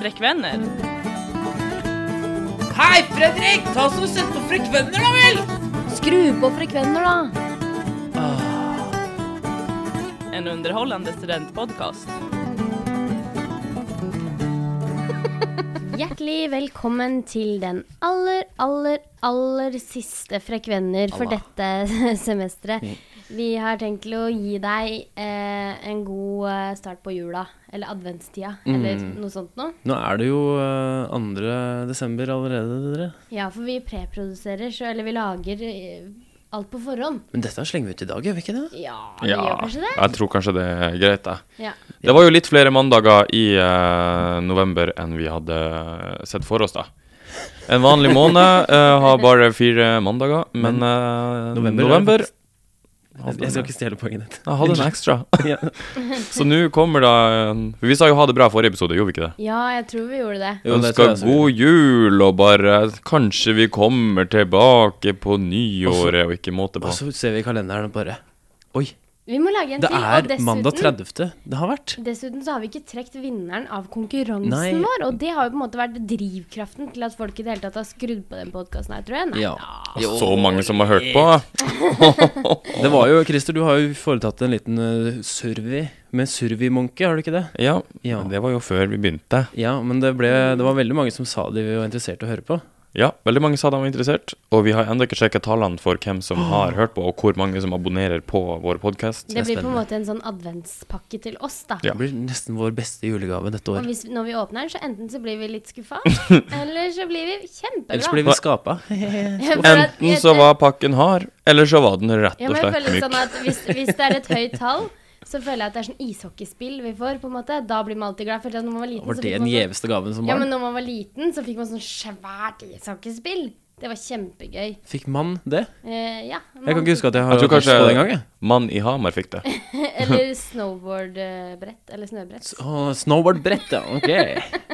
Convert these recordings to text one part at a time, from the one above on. Frekkvenner. Hei, Fredrik! Ta oss og Sett på frekvenner, da vel! Skru på frekvenner, da. En underholdende studentpodkast. Hjertelig velkommen til den aller, aller, aller siste Frekvenner for Allah. dette semesteret. Mm. Vi har tenkt til å gi deg eh, en god eh, start på jula, eller adventstida, eller Mm. noe sånt noe. Nå er det jo eh, 2. desember allerede, dere. Ja, for vi preproduserer, så, eller vi lager eh, alt på forhånd. Men dette slenger vi ut i dag, gjør vi ikke det? Ja, vi Ja, gjør kanskje det? jeg tror kanskje det er greit, jeg. Ja. Det var jo litt flere mandager i eh, november enn vi hadde eh, sett for oss, da. En vanlig måned eh, har bare fire mandager, men eh, november november, er- hadde, Jeg skal ikke stjele poenget ditt. jeg hadde en ekstra. Ja. Så nå kommer da en- Vi sa jo ha det bra forrige episode, gjorde vi ikke det? ja, jeg tror vi gjorde det. Jo, det tror Ønska jeg også vi god jul og bare Kanskje vi kommer tilbake på nyåret og ikke måte Og på. så ser vi i kalenderen og bare Oi, Vi må lage en det til. og er dessuten- mandag 30. Det har vært. Dessuten så har vi ikke trukket vinneren av konkurransen Nei. vår, og det har jo på en måte vært drivkraften til at folk i det hele tatt har skrudd på den podkasten her, tror jeg. Nei. Ja. Og så mange som har hørt på. Det var jo, Christer, du har jo foretatt en liten eh, survey med surveymonkey, har du ikke det? Ja, Ja. det var jo før vi begynte. Ja, men det, ble, det var veldig mange som sa de var interessert i å høre på. Ja, veldig mange sa de var interessert, og vi har ennå ikke sjekket tallene for hvem som har hørt på, og hvor mange som abonnerer på vår podkast. Ah. Det blir er på en spennende. måte en sånn adventspakke til oss, da. Ja. Det blir nesten vår beste julegave dette Og år. hvis, når vi åpner den, så enten så blir vi litt skuffa, eller så blir vi Ellers kjempeglad. blir vi skapa. For at- Enten så var pakken hard, eller så var den rett ja, og men jeg slett føler litt sånn myk. at hvis, hvis det er et høyt tall, så føler jeg at det er sånn ishockeyspill vi får, på en måte. Da blir man alltid glad. For når man var liten, Var så det fikk den man sånn, gjeveste gaven som ja, men barn? når man var liten, så fikk man sånn svært ishockeyspill. Det var kjempegøy. Fikk mann det? Eh, ja. Jeg kan ikke huske at jeg har Jeg tror hatt lyst kanskje på det engang. jeg. mann i Hamar fikk det. Eller snowboardbrett. Eller snøbrett. Å, Snowboardbrett, ja. Ok.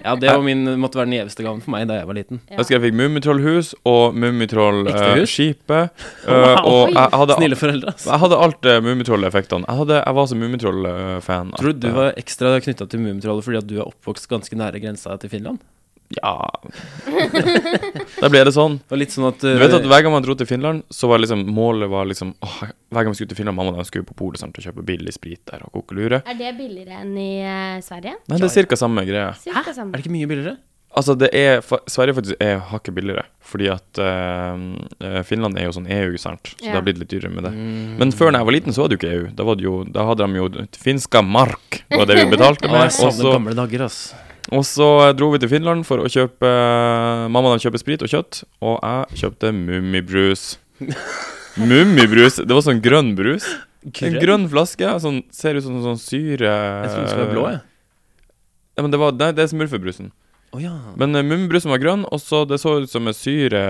Ja, det var min, måtte være den gjeveste gaven for meg da jeg var liten. Ja. Jeg husker jeg fikk Mummitrollhus og Ekte hus? Mummitrollskipet. Wow. eh, og jeg hadde, Snille foreldre, ass. jeg hadde alt uh, Mummitroll-effektene. Jeg, hadde- jeg var eh, så Mummitroll-fan. Tror du du var ekstra knytta til Mummitrollet fordi at du er oppvokst ganske nære grensa til Finland? eh, Ja. da ble det sånn. Det var litt sånn at Du vet at Hver gang man dro til Finland, så var liksom målet var liksom åh, Hver gang vi skulle til Finland, mamma og de skulle på polet sant, og kjøpe billig sprit der og koke lure. Er det billigere enn i eh, Sverige? Nei, det er cirka samme greia. Cirka Er samme. det ikke mye billigere? Altså, det er fa- Sverige faktisk er hakket billigere, fordi at eh, eh, Finland er jo sånn EU, sant, så det Ja. har blitt litt dyrere med det. Men før da jeg var liten, så var det jo ikke EU. Da, var det jo, da hadde de jo finska mark, var det vi betalte Å, med. jeg savner og så- gamle dager, ass. Og så dro vi til Finland for å kjøpe Mamma og de kjøper sprit og kjøtt, og jeg kjøpte mummibrus. mummibrus? Det var sånn grønn brus. En grønn flaske. Sånn, ser ut som sånn syre Jeg trodde den skulle være blå, jeg. Ja, men det, var, nei, det er smurfebrusen. Å ja. Men uh, mummibrusen var grønn, og så det så ut som en syre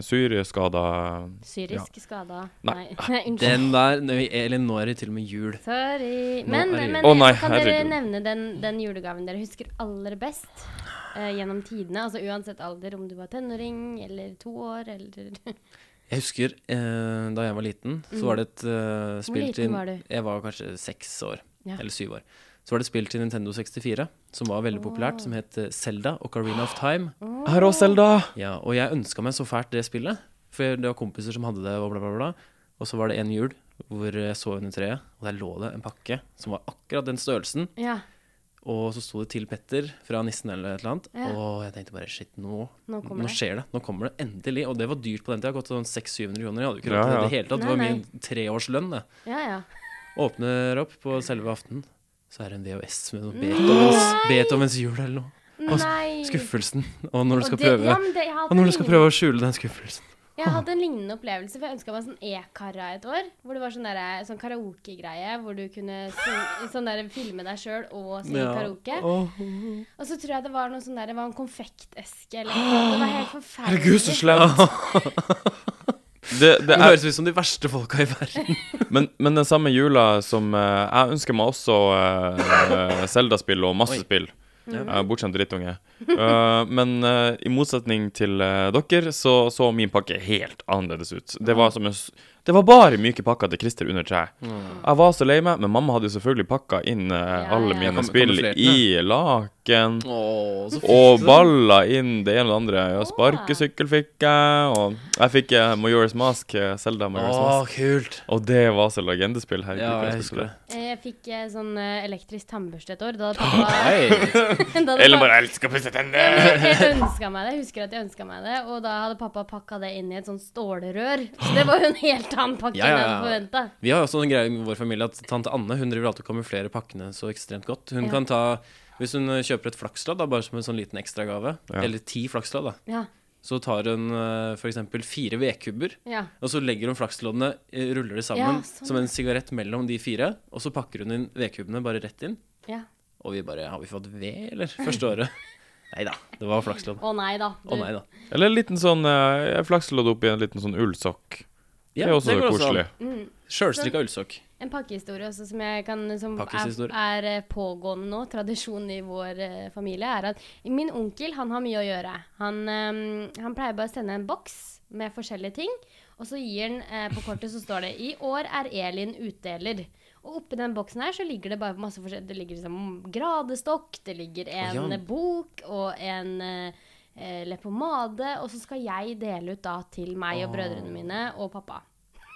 syreskada Syrisk skada Nei, Nei. unnskyld. Den der nei, Elin, nå er det til og med jul. Sorry. Men, er det- men Å, nei, kan dere herregud. nevne den, den julegaven dere husker aller best? eh, gjennom tidene, altså uansett alder, om du var tenåring eller to år eller Jeg husker eh, da jeg var liten, så var det et eh, spill Mm. liten til var du? Jeg var kanskje seks år, Ja. eller syv år. Så var det et spill til Nintendo 64 som var veldig populært, som het eh, Zelda og Carina of Time. Her òg, Selda! Ja, og jeg ønska meg så fælt det spillet, for det var kompiser som hadde det, og bla, bla, bla. Og så var det en jul hvor jeg så under treet, og der lå det en pakke som var akkurat den størrelsen. Ja, Og så sto det 'Til Petter' fra nissen eller et eller annet. Ja. Og jeg tenkte bare shit, nå, Nå nå, kommer det. skjer det. Nå kommer det endelig. Og det var dyrt på den tida. Gått sånn 600-700 kroner. Jeg hadde jo ikke Ja, råd til det i ja. det hele tatt. Det Nei, var nei. min treårslønn. det. ja. ja. Åpner opp på selve aften, så er det en VHS med noe Beethovens, Beethovens jul eller noe. Og så- Mm. Nei. Skuffelsen. Og når du skal Og det- prøve ja, men det- jeg hadde Og når du skal ingen- prøve å skjule den skuffelsen. Jeg hadde en lignende opplevelse, for jeg ønska meg sånn e-karra et år. Hvor det var sånn, derre- sånn karaokegreie, hvor du kunne syn- sånn derre filme deg sjøl og synge Ja. karaoke. Åh. Og så tror jeg det var noe sånn der, det var en konfekteske eller noe. Det var helt forferdelig. Herregud, så slemt! Det, det Det er høres ut som de verste folka i verden. Men, men den samme jula som eh, Jeg ønsker meg også uh, Zelda-spill og masse Oi. spill. Uh, Bortskjemt drittunge. Eh, men eh, i motsetning til eh, dere, så så min pakke helt annerledes ut. Det var, som en, s- det var bare myke pakker til Christer under treet. Mm. Jeg var så lei meg, men mamma hadde jo selvfølgelig pakka inn eh, Ja, alle ja. mine Kam- spill kamuflert, i laken. nakken. Åh, så Og fikk du det. baller inn det ene og det andre. Og sparkesykkel fikk jeg, og jeg fikk eh, Majora's Mask. eh, Zelda Majora's Åh, Mask. kult. Og det var så legendespill. Herregud, Ja, hvor jeg spilte husker det. Eh, Jeg fikk eh, sånn eh, elektrisk tannbørste et år. Da hadde pappa, Hei. da hadde Eller pappa- bare 'Jeg elsker å pusse Ja, tenner'. men Jeg ønska meg det. Jeg husker at jeg ønsket meg det. Og da hadde pappa pakka det inn i et sånt stålrør. Så det var jo en helt annen pakke Ja, ja, enn jeg ja. hadde forventa. Vi har også en greie i vår familie at tante Anne hun driver alltid og kamuflerer pakkene så ekstremt godt. Hun Ja. kan ta, Hvis hun eh, kjøper et flakslodd, da, bare som en sånn liten ekstragave, Ja. eller ti flakslodd, da, Ja, så tar hun f.eks. fire vedkubber, ja. og så legger hun flaksloddene, eh, ruller de Ja, sammen sånn. som en sigarett mellom de fire, og så pakker hun inn vedkubbene bare rett inn. ja. Og vi bare Har vi fått ved, eller? Første året. Nei da, det var flakslodd. Å nei da. Å nei da. Eller en liten sånn eh, flakslodd oppi en liten sånn ullsokk. Det Ja, er også går også koselig. an. Sjølstrikka ullsokk. En pakkehistorie også som, jeg kan, som er, Pakkehistorie. er eh, pågående nå, tradisjon i vår eh, familie, er at min onkel han har mye å gjøre. Han, eh, han pleier bare å sende en boks med forskjellige ting, og så gir han eh, på kortet så står det 'I år er Elin utdeler'. Og oppi den boksen her så ligger det bare masse forskjellig. Det ligger liksom gradestokk, det ligger en ja. eh, bok og en eh, eh, leppepomade, og så skal jeg dele ut da til meg og brødrene mine og pappa.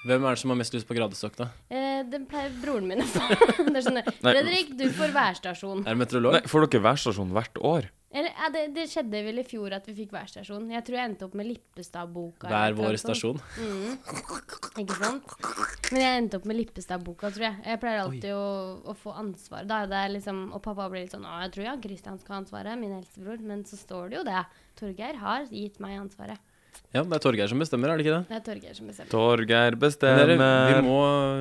Hvem er det som har mest lyst på gradestokk, da? Eh, det pleier broren min å få. Det er sånn, Fredrik, du får værstasjon. Er det meteorolog? Nei, får dere værstasjon hvert år? Eller, ja, det, det skjedde vel i fjor at vi fikk værstasjon. Jeg tror jeg endte opp med Lippestad-boka. eller noe Hver vår sånt. stasjon. Ikke sant? Men jeg endte opp med Lippestad-boka, tror jeg. Jeg pleier alltid å, å få ansvar. Da er det liksom, og pappa blir litt sånn Å, jeg tror ja, Christian skal ha ansvaret, min eldstebror. Men så står det jo det. Torgeir har gitt meg ansvaret. Ja, det er Torgeir som bestemmer, er det ikke det? Det er Torgeir som bestemmer. Torgeir Men bestemmer. dere, vi må,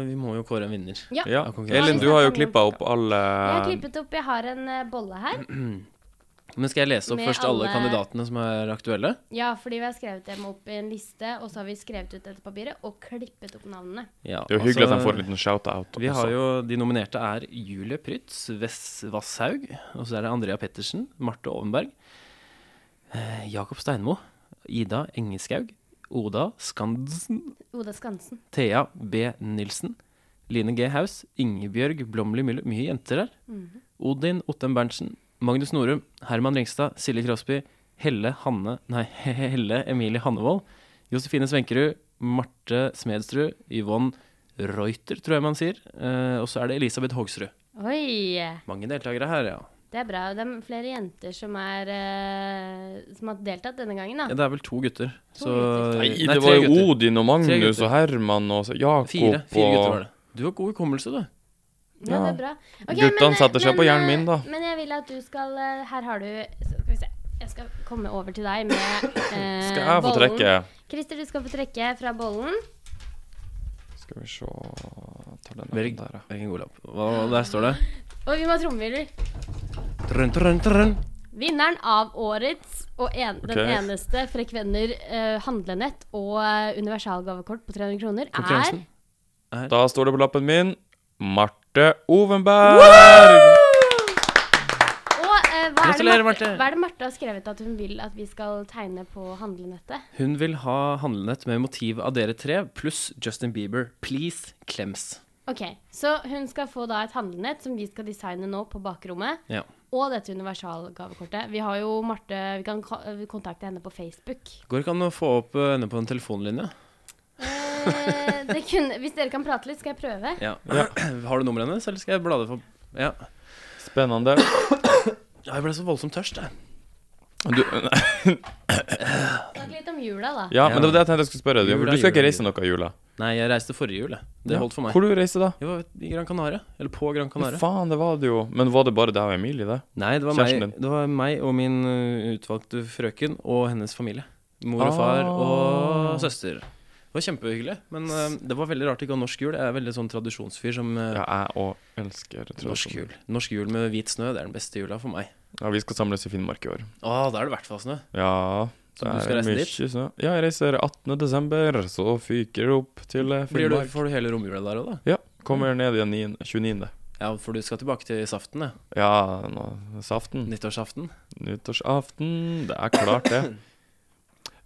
vi må jo kåre en vinner. Ja. ja. av konkurransen. Elin, du har jo klippa opp eh, alle Jeg har klippet opp. Jeg har en eh, bolle her. Men skal jeg lese opp Med først alle alle- kandidatene som er aktuelle? Ja, fordi vi har skrevet dem opp i en liste, og så har vi skrevet ut dette papiret og klippet opp navnene. Ja, Det er jo hyggelig altså, at de får en liten shout-out. Vi også. har jo, De nominerte er Julie Prytz, Vess Vasshaug, og så er det Andrea Pettersen, Marte Ovenberg, eh, Jakob Steinmo, Ida Engeskaug, Oda Skandsen, Oda Skansen. Thea B. Nilsen, Line G. Haus, Ingebjørg Blomli Mylle, mye jenter her, Mhm. Odin Ottem Berntsen, Magnus Norum, Herman Ringstad, Silje Krosby, Helle Hanne, nei, Helle Emilie Hannevold, Josefine Svenkerud, Marte Smedsrud, Yvonne Reuter, tror jeg man sier, eh, og så er det Elisabeth Hogsrud. Oi! Mange deltakere her, ja. Det er bra. Det er flere jenter som, er, eh, som har deltatt denne gangen, ja. da. Det er vel to gutter. To Så, gutter. Nei, nei, det tre var jo gutter. Odin og Magnus gutter. og Herman og så- Jakob Fire, fire gutter var og det. Du har god hukommelse, du. Ja, det ja. er bra. Ok, Guttene men, eh, setter seg men, på hjernen eh, min, da. Men jeg vil at du skal eh, Her har du så Skal vi se. Jeg skal komme over til deg med eh, Skal jeg få bollen. trekke? Christer, du skal få trekke fra bollen. Skal vi se Ta den Velg, der, ja. velg en god lapp. Hva- Der står det. Og vi må ha trommevirvel. Trønn, trønn, trønn. Vinneren av årets og en, Ok. den eneste Frekvenner eh, handlenett og eh, universalgavekort på 300 kroner er Konkurransen. Da står det på lappen min Marte Ovenberg! Og eh, hva, er det Gratulerer, Marte, Marte. hva er det Marte har skrevet at hun vil at vi skal tegne på handlenettet? Hun vil ha handlenett med motiv av dere tre, pluss Justin Bieber. Please, klems. Ok, Så hun skal få da et handlenett som vi skal designe nå på bakrommet. Ja. Og dette universalgavekortet. Vi har jo Marte, vi kan ka- kontakte henne på Facebook. Går ikke an å få opp eh, henne på en telefonlinje? Eh, det kunne, hvis dere kan prate litt, skal jeg prøve. Ja. Har du nummeret hennes, eller skal jeg blade for Ja. Spennende. Ja, Jeg ble så voldsomt tørst, jeg. Du, Snakk litt om jula, da. ja, men det var det jeg tenkte jeg skulle spørre. Du, Jula, du skal ikke jula, reise noe i jula? Nei, jeg reiste forrige jul, jeg. Det holdt for meg. Hvor du reiser da? Jeg var i Gran Canaria. Eller på Gran Men Canaria. faen, det var det jo. Men var det bare deg og Emilie, det? Nei, det var, Kjæresten meg, din. det var meg og min ø, utvalgte frøken og hennes familie. Mor og far Ah. og søster. Det var kjempehyggelig, men ø, det var veldig rart ikke å ha norsk jul. Jeg er veldig sånn tradisjonsfyr som ø, Ja, jeg òg elsker tradisjon. norsk jul. sånn. Norsk jul med hvit snø, det er den beste jula for meg. Ja, vi skal samles i Finnmark i år. Å, da er det i hvert fall snø. Ja. Så du det er skal reise mye dit? snø. Ja, jeg reiser 18. desember, så fyker det opp til eh, Blir du, Finnmark. får du hele romjula der òg, da? Ja, kommer ned igjen 9, 29. Ja, for du skal tilbake til saften, ja. Ja, nå, saften. Nyttårsaften. Nyttårsaften. Det er klart, det.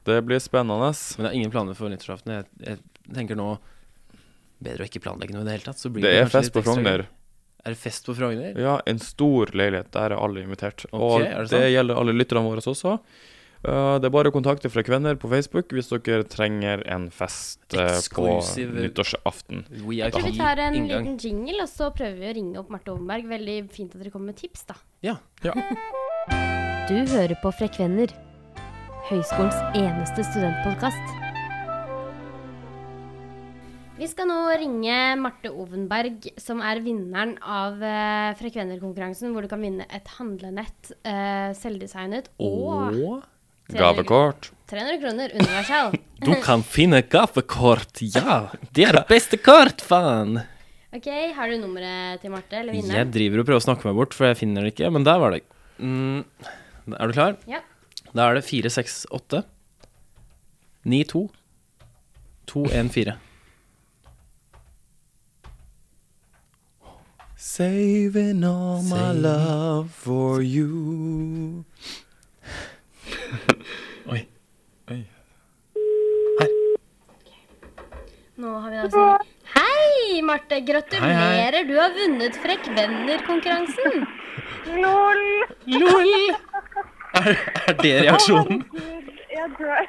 Det blir spennende. Men jeg har ingen planer for nyttårsaften. Jeg, jeg tenker nå Bedre å ikke planlegge noe i det hele tatt. Så blir Det er kanskje fest på litt ekstra gøy. Frogner. Er det fest på Frogner? Ja, en stor leilighet. Der er alle invitert. Og Ok, er det det, sant? gjelder alle lytterne våre også. Eh, det er bare å kontakte Frekvenner på Facebook hvis dere trenger en fest eh, på Eksklusiv- nyttårsaften. Jeg VIP tror vi tar en inngang. liten jingle, og så prøver vi å ringe opp Marte Ovenberg. Veldig fint at dere kommer med tips, da. Ja. Du hører på Frekvenner, høyskolens eneste studentpodkast. Vi skal nå ringe Marte Ovenberg, som er vinneren av eh, Frekvenner-konkurransen, hvor du kan vinne et handlenett eh, selvdesignet og Og 300, kr- Gavekort. 300 kroner universal. Du kan finne gavekort, ja! Det er beste kort, faen! Ok, Har du nummeret til Marte? eller Jeg vinneren? driver og prøver å snakke meg bort, for jeg finner det ikke. Men der var det. Mm, er du klar? Ja. Da er det 468 92 214. Saving all my love for you. Oi. Nå har vi da sånn. Hei, Marte! Gratulerer! Du har vunnet Frekvenner-konkurransen. LOL! Er, er det reaksjonen? Jeg dør.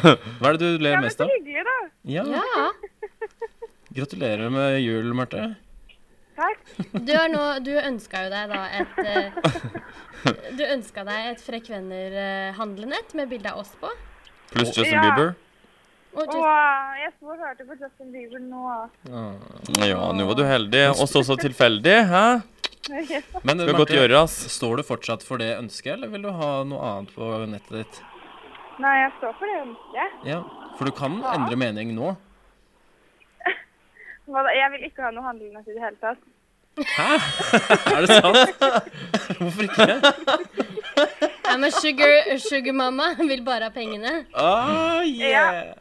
Hva er det du ler mest av? Hyggelig, da. Ja, Ja. Gratulerer med jul, Marte. Du, er nå, du ønska jo deg da et eh, Du ønska deg et Frekvenner-handlenett med bilde av oss på. Pluss Justin Ja. Bieber. Og Og just, jeg sto og hørte på Justin Bieber nå. Ja, nå var du heldig. Også så tilfeldig, hæ? Men Skal godt gjøres. står du fortsatt for det ønsket, eller vil du ha noe annet på nettet ditt? Nei, jeg står for det ønsket. Ja, For du kan endre mening nå. Hva da? Jeg vil ikke ha noe handlenett i det hele tatt. Er det sant? Hvorfor ikke? I'm a sugar, sugar mama. Vil bare ha pengene. Ah, yeah.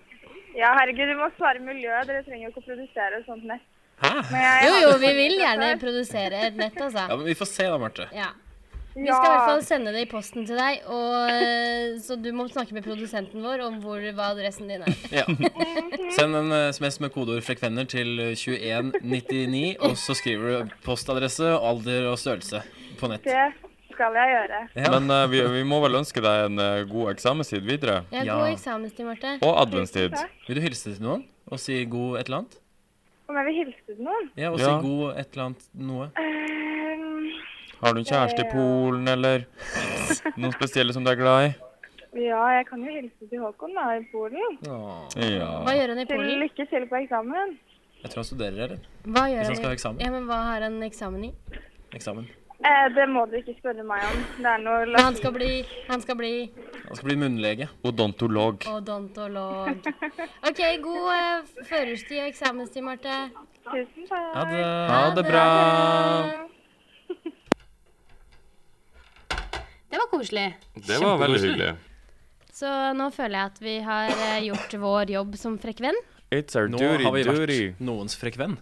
Ja, herregud, vi må svare miljøet. Dere trenger jo ikke å produsere et sånt nett. Hæ? Men jeg, Jo, jo, vi vil gjerne produsere et nett, Ja, altså. men Vi får se da, Marte. Ja. Vi ja, skal i hvert fall sende det i posten til deg, og, eh, så du må snakke med produsenten vår om hvor, hva adressen din er. Ja. Mhm. Send en eh, SMS med kodeord 'frekvenner' til eh, 2199, og så skriver du postadresse, alder og størrelse på nett. det skal jeg gjøre. Ja. Men eh, vi, vi må vel ønske deg en eh, god eksamenstid videre. Ja, Ja. God eksamenstid, Marte. Og adventstid. Vil du hilse til noen og si god et eller annet? Om jeg vil hilse til noen? Ja, og Ja. si god et eller annet noe. Ehm, Har du en kjæreste i Polen, eller noen spesielle som du er glad i? ja, jeg kan jo hilse til Håkon da, i Polen. Åh, Ja. Hva gjør han i Til Polen? lykke til på eksamen. jeg tror han studerer, eller? Hva gjør Hvis han han skal ha i eksamen. ja, men hva har han eksamen i? Eksamen. Eh, det må dere ikke spørre meg om. Det er noe Men han skal bli, han skal bli Han skal bli munnlege. Odontolog. odontolog. OK, god eh, førerstid og eksamenstid, Marte. Tusen takk. Ha det. Ha det bra. Det var koselig. Det var veldig hyggelig. Så nå føler jeg at vi har eh, gjort vår jobb som frekvenn. It's our Nå duty, har vi duty. vært noens frekvenn.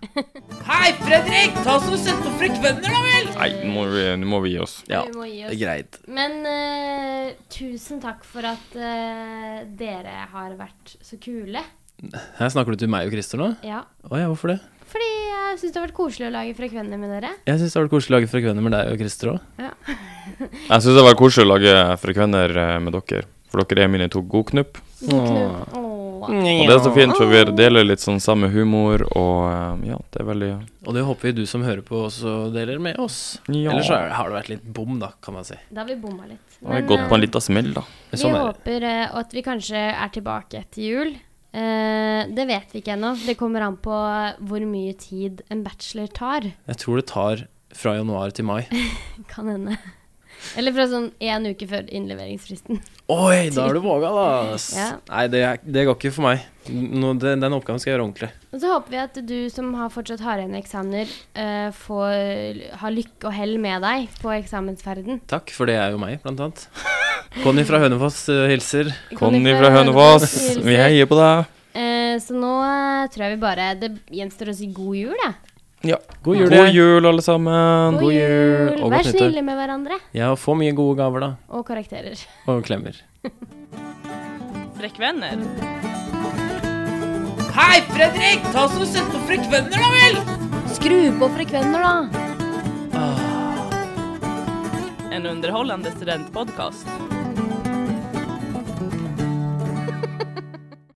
Hei, Fredrik! Ta oss og Sett på Frekvenner, da vel! Nei, nå må vi, nå må vi gi oss. Ja, Vi må gi det oss. er greit. Men eh, tusen takk for at eh, dere har vært så kule. Her snakker du til meg og Christer nå? Ja. Å ja, hvorfor det? Fordi jeg syns det har vært koselig å lage frekvenner med dere. Jeg syns det har vært koselig å lage frekvenner med deg og Christer òg. Jeg syns det var koselig å lage frekvenner eh, med dere. For dere er mine to godknupp. Knull. Åh. Og det er så fint, for vi deler litt sånn samme humor, og eh, ja, det er veldig Og det håper vi du som hører på også deler med oss. Ja. Ellers så er- har det vært litt bom, da, kan man si. Da har vi bomma litt. eh, Nå har jeg gått på en liten smell, da. Men vi sånn er det. håper eh, at vi kanskje er tilbake etter jul. Eh, det vet vi ikke ennå. Det kommer an på hvor mye tid en bachelor tar. Jeg tror det tar fra januar til mai. Kan hende. Eller fra sånn én uke før innleveringsfristen. Oi, da er du våga, da! ass. Ja. Nei, det, er- det går ikke for meg. Nå, den, den oppgaven skal jeg gjøre ordentlig. Og så håper vi at du som har fortsatt har igjen eksamener, eh, får ha lykke og hell med deg på eksamensferden. Takk, for det er jo meg, blant annet. Conny fra Hønefoss eh, hilser. Conny fra Hønefoss, vi hilser. heier på deg. Eh, så nå eh, tror jeg vi bare Det gjenstår å si god jul, jeg. God jul, God jeg. jul, alle sammen. God jul, og Vær godt nyttår. snille med hverandre. Ja, og få mye gode gaver, da. Og karakterer. Og klemmer. Frekkvenner. Hei, Fredrik! Ta oss og Sett på Frekvenner, da vel! Skru på frekvenner, da! En underhållande studentpodcast.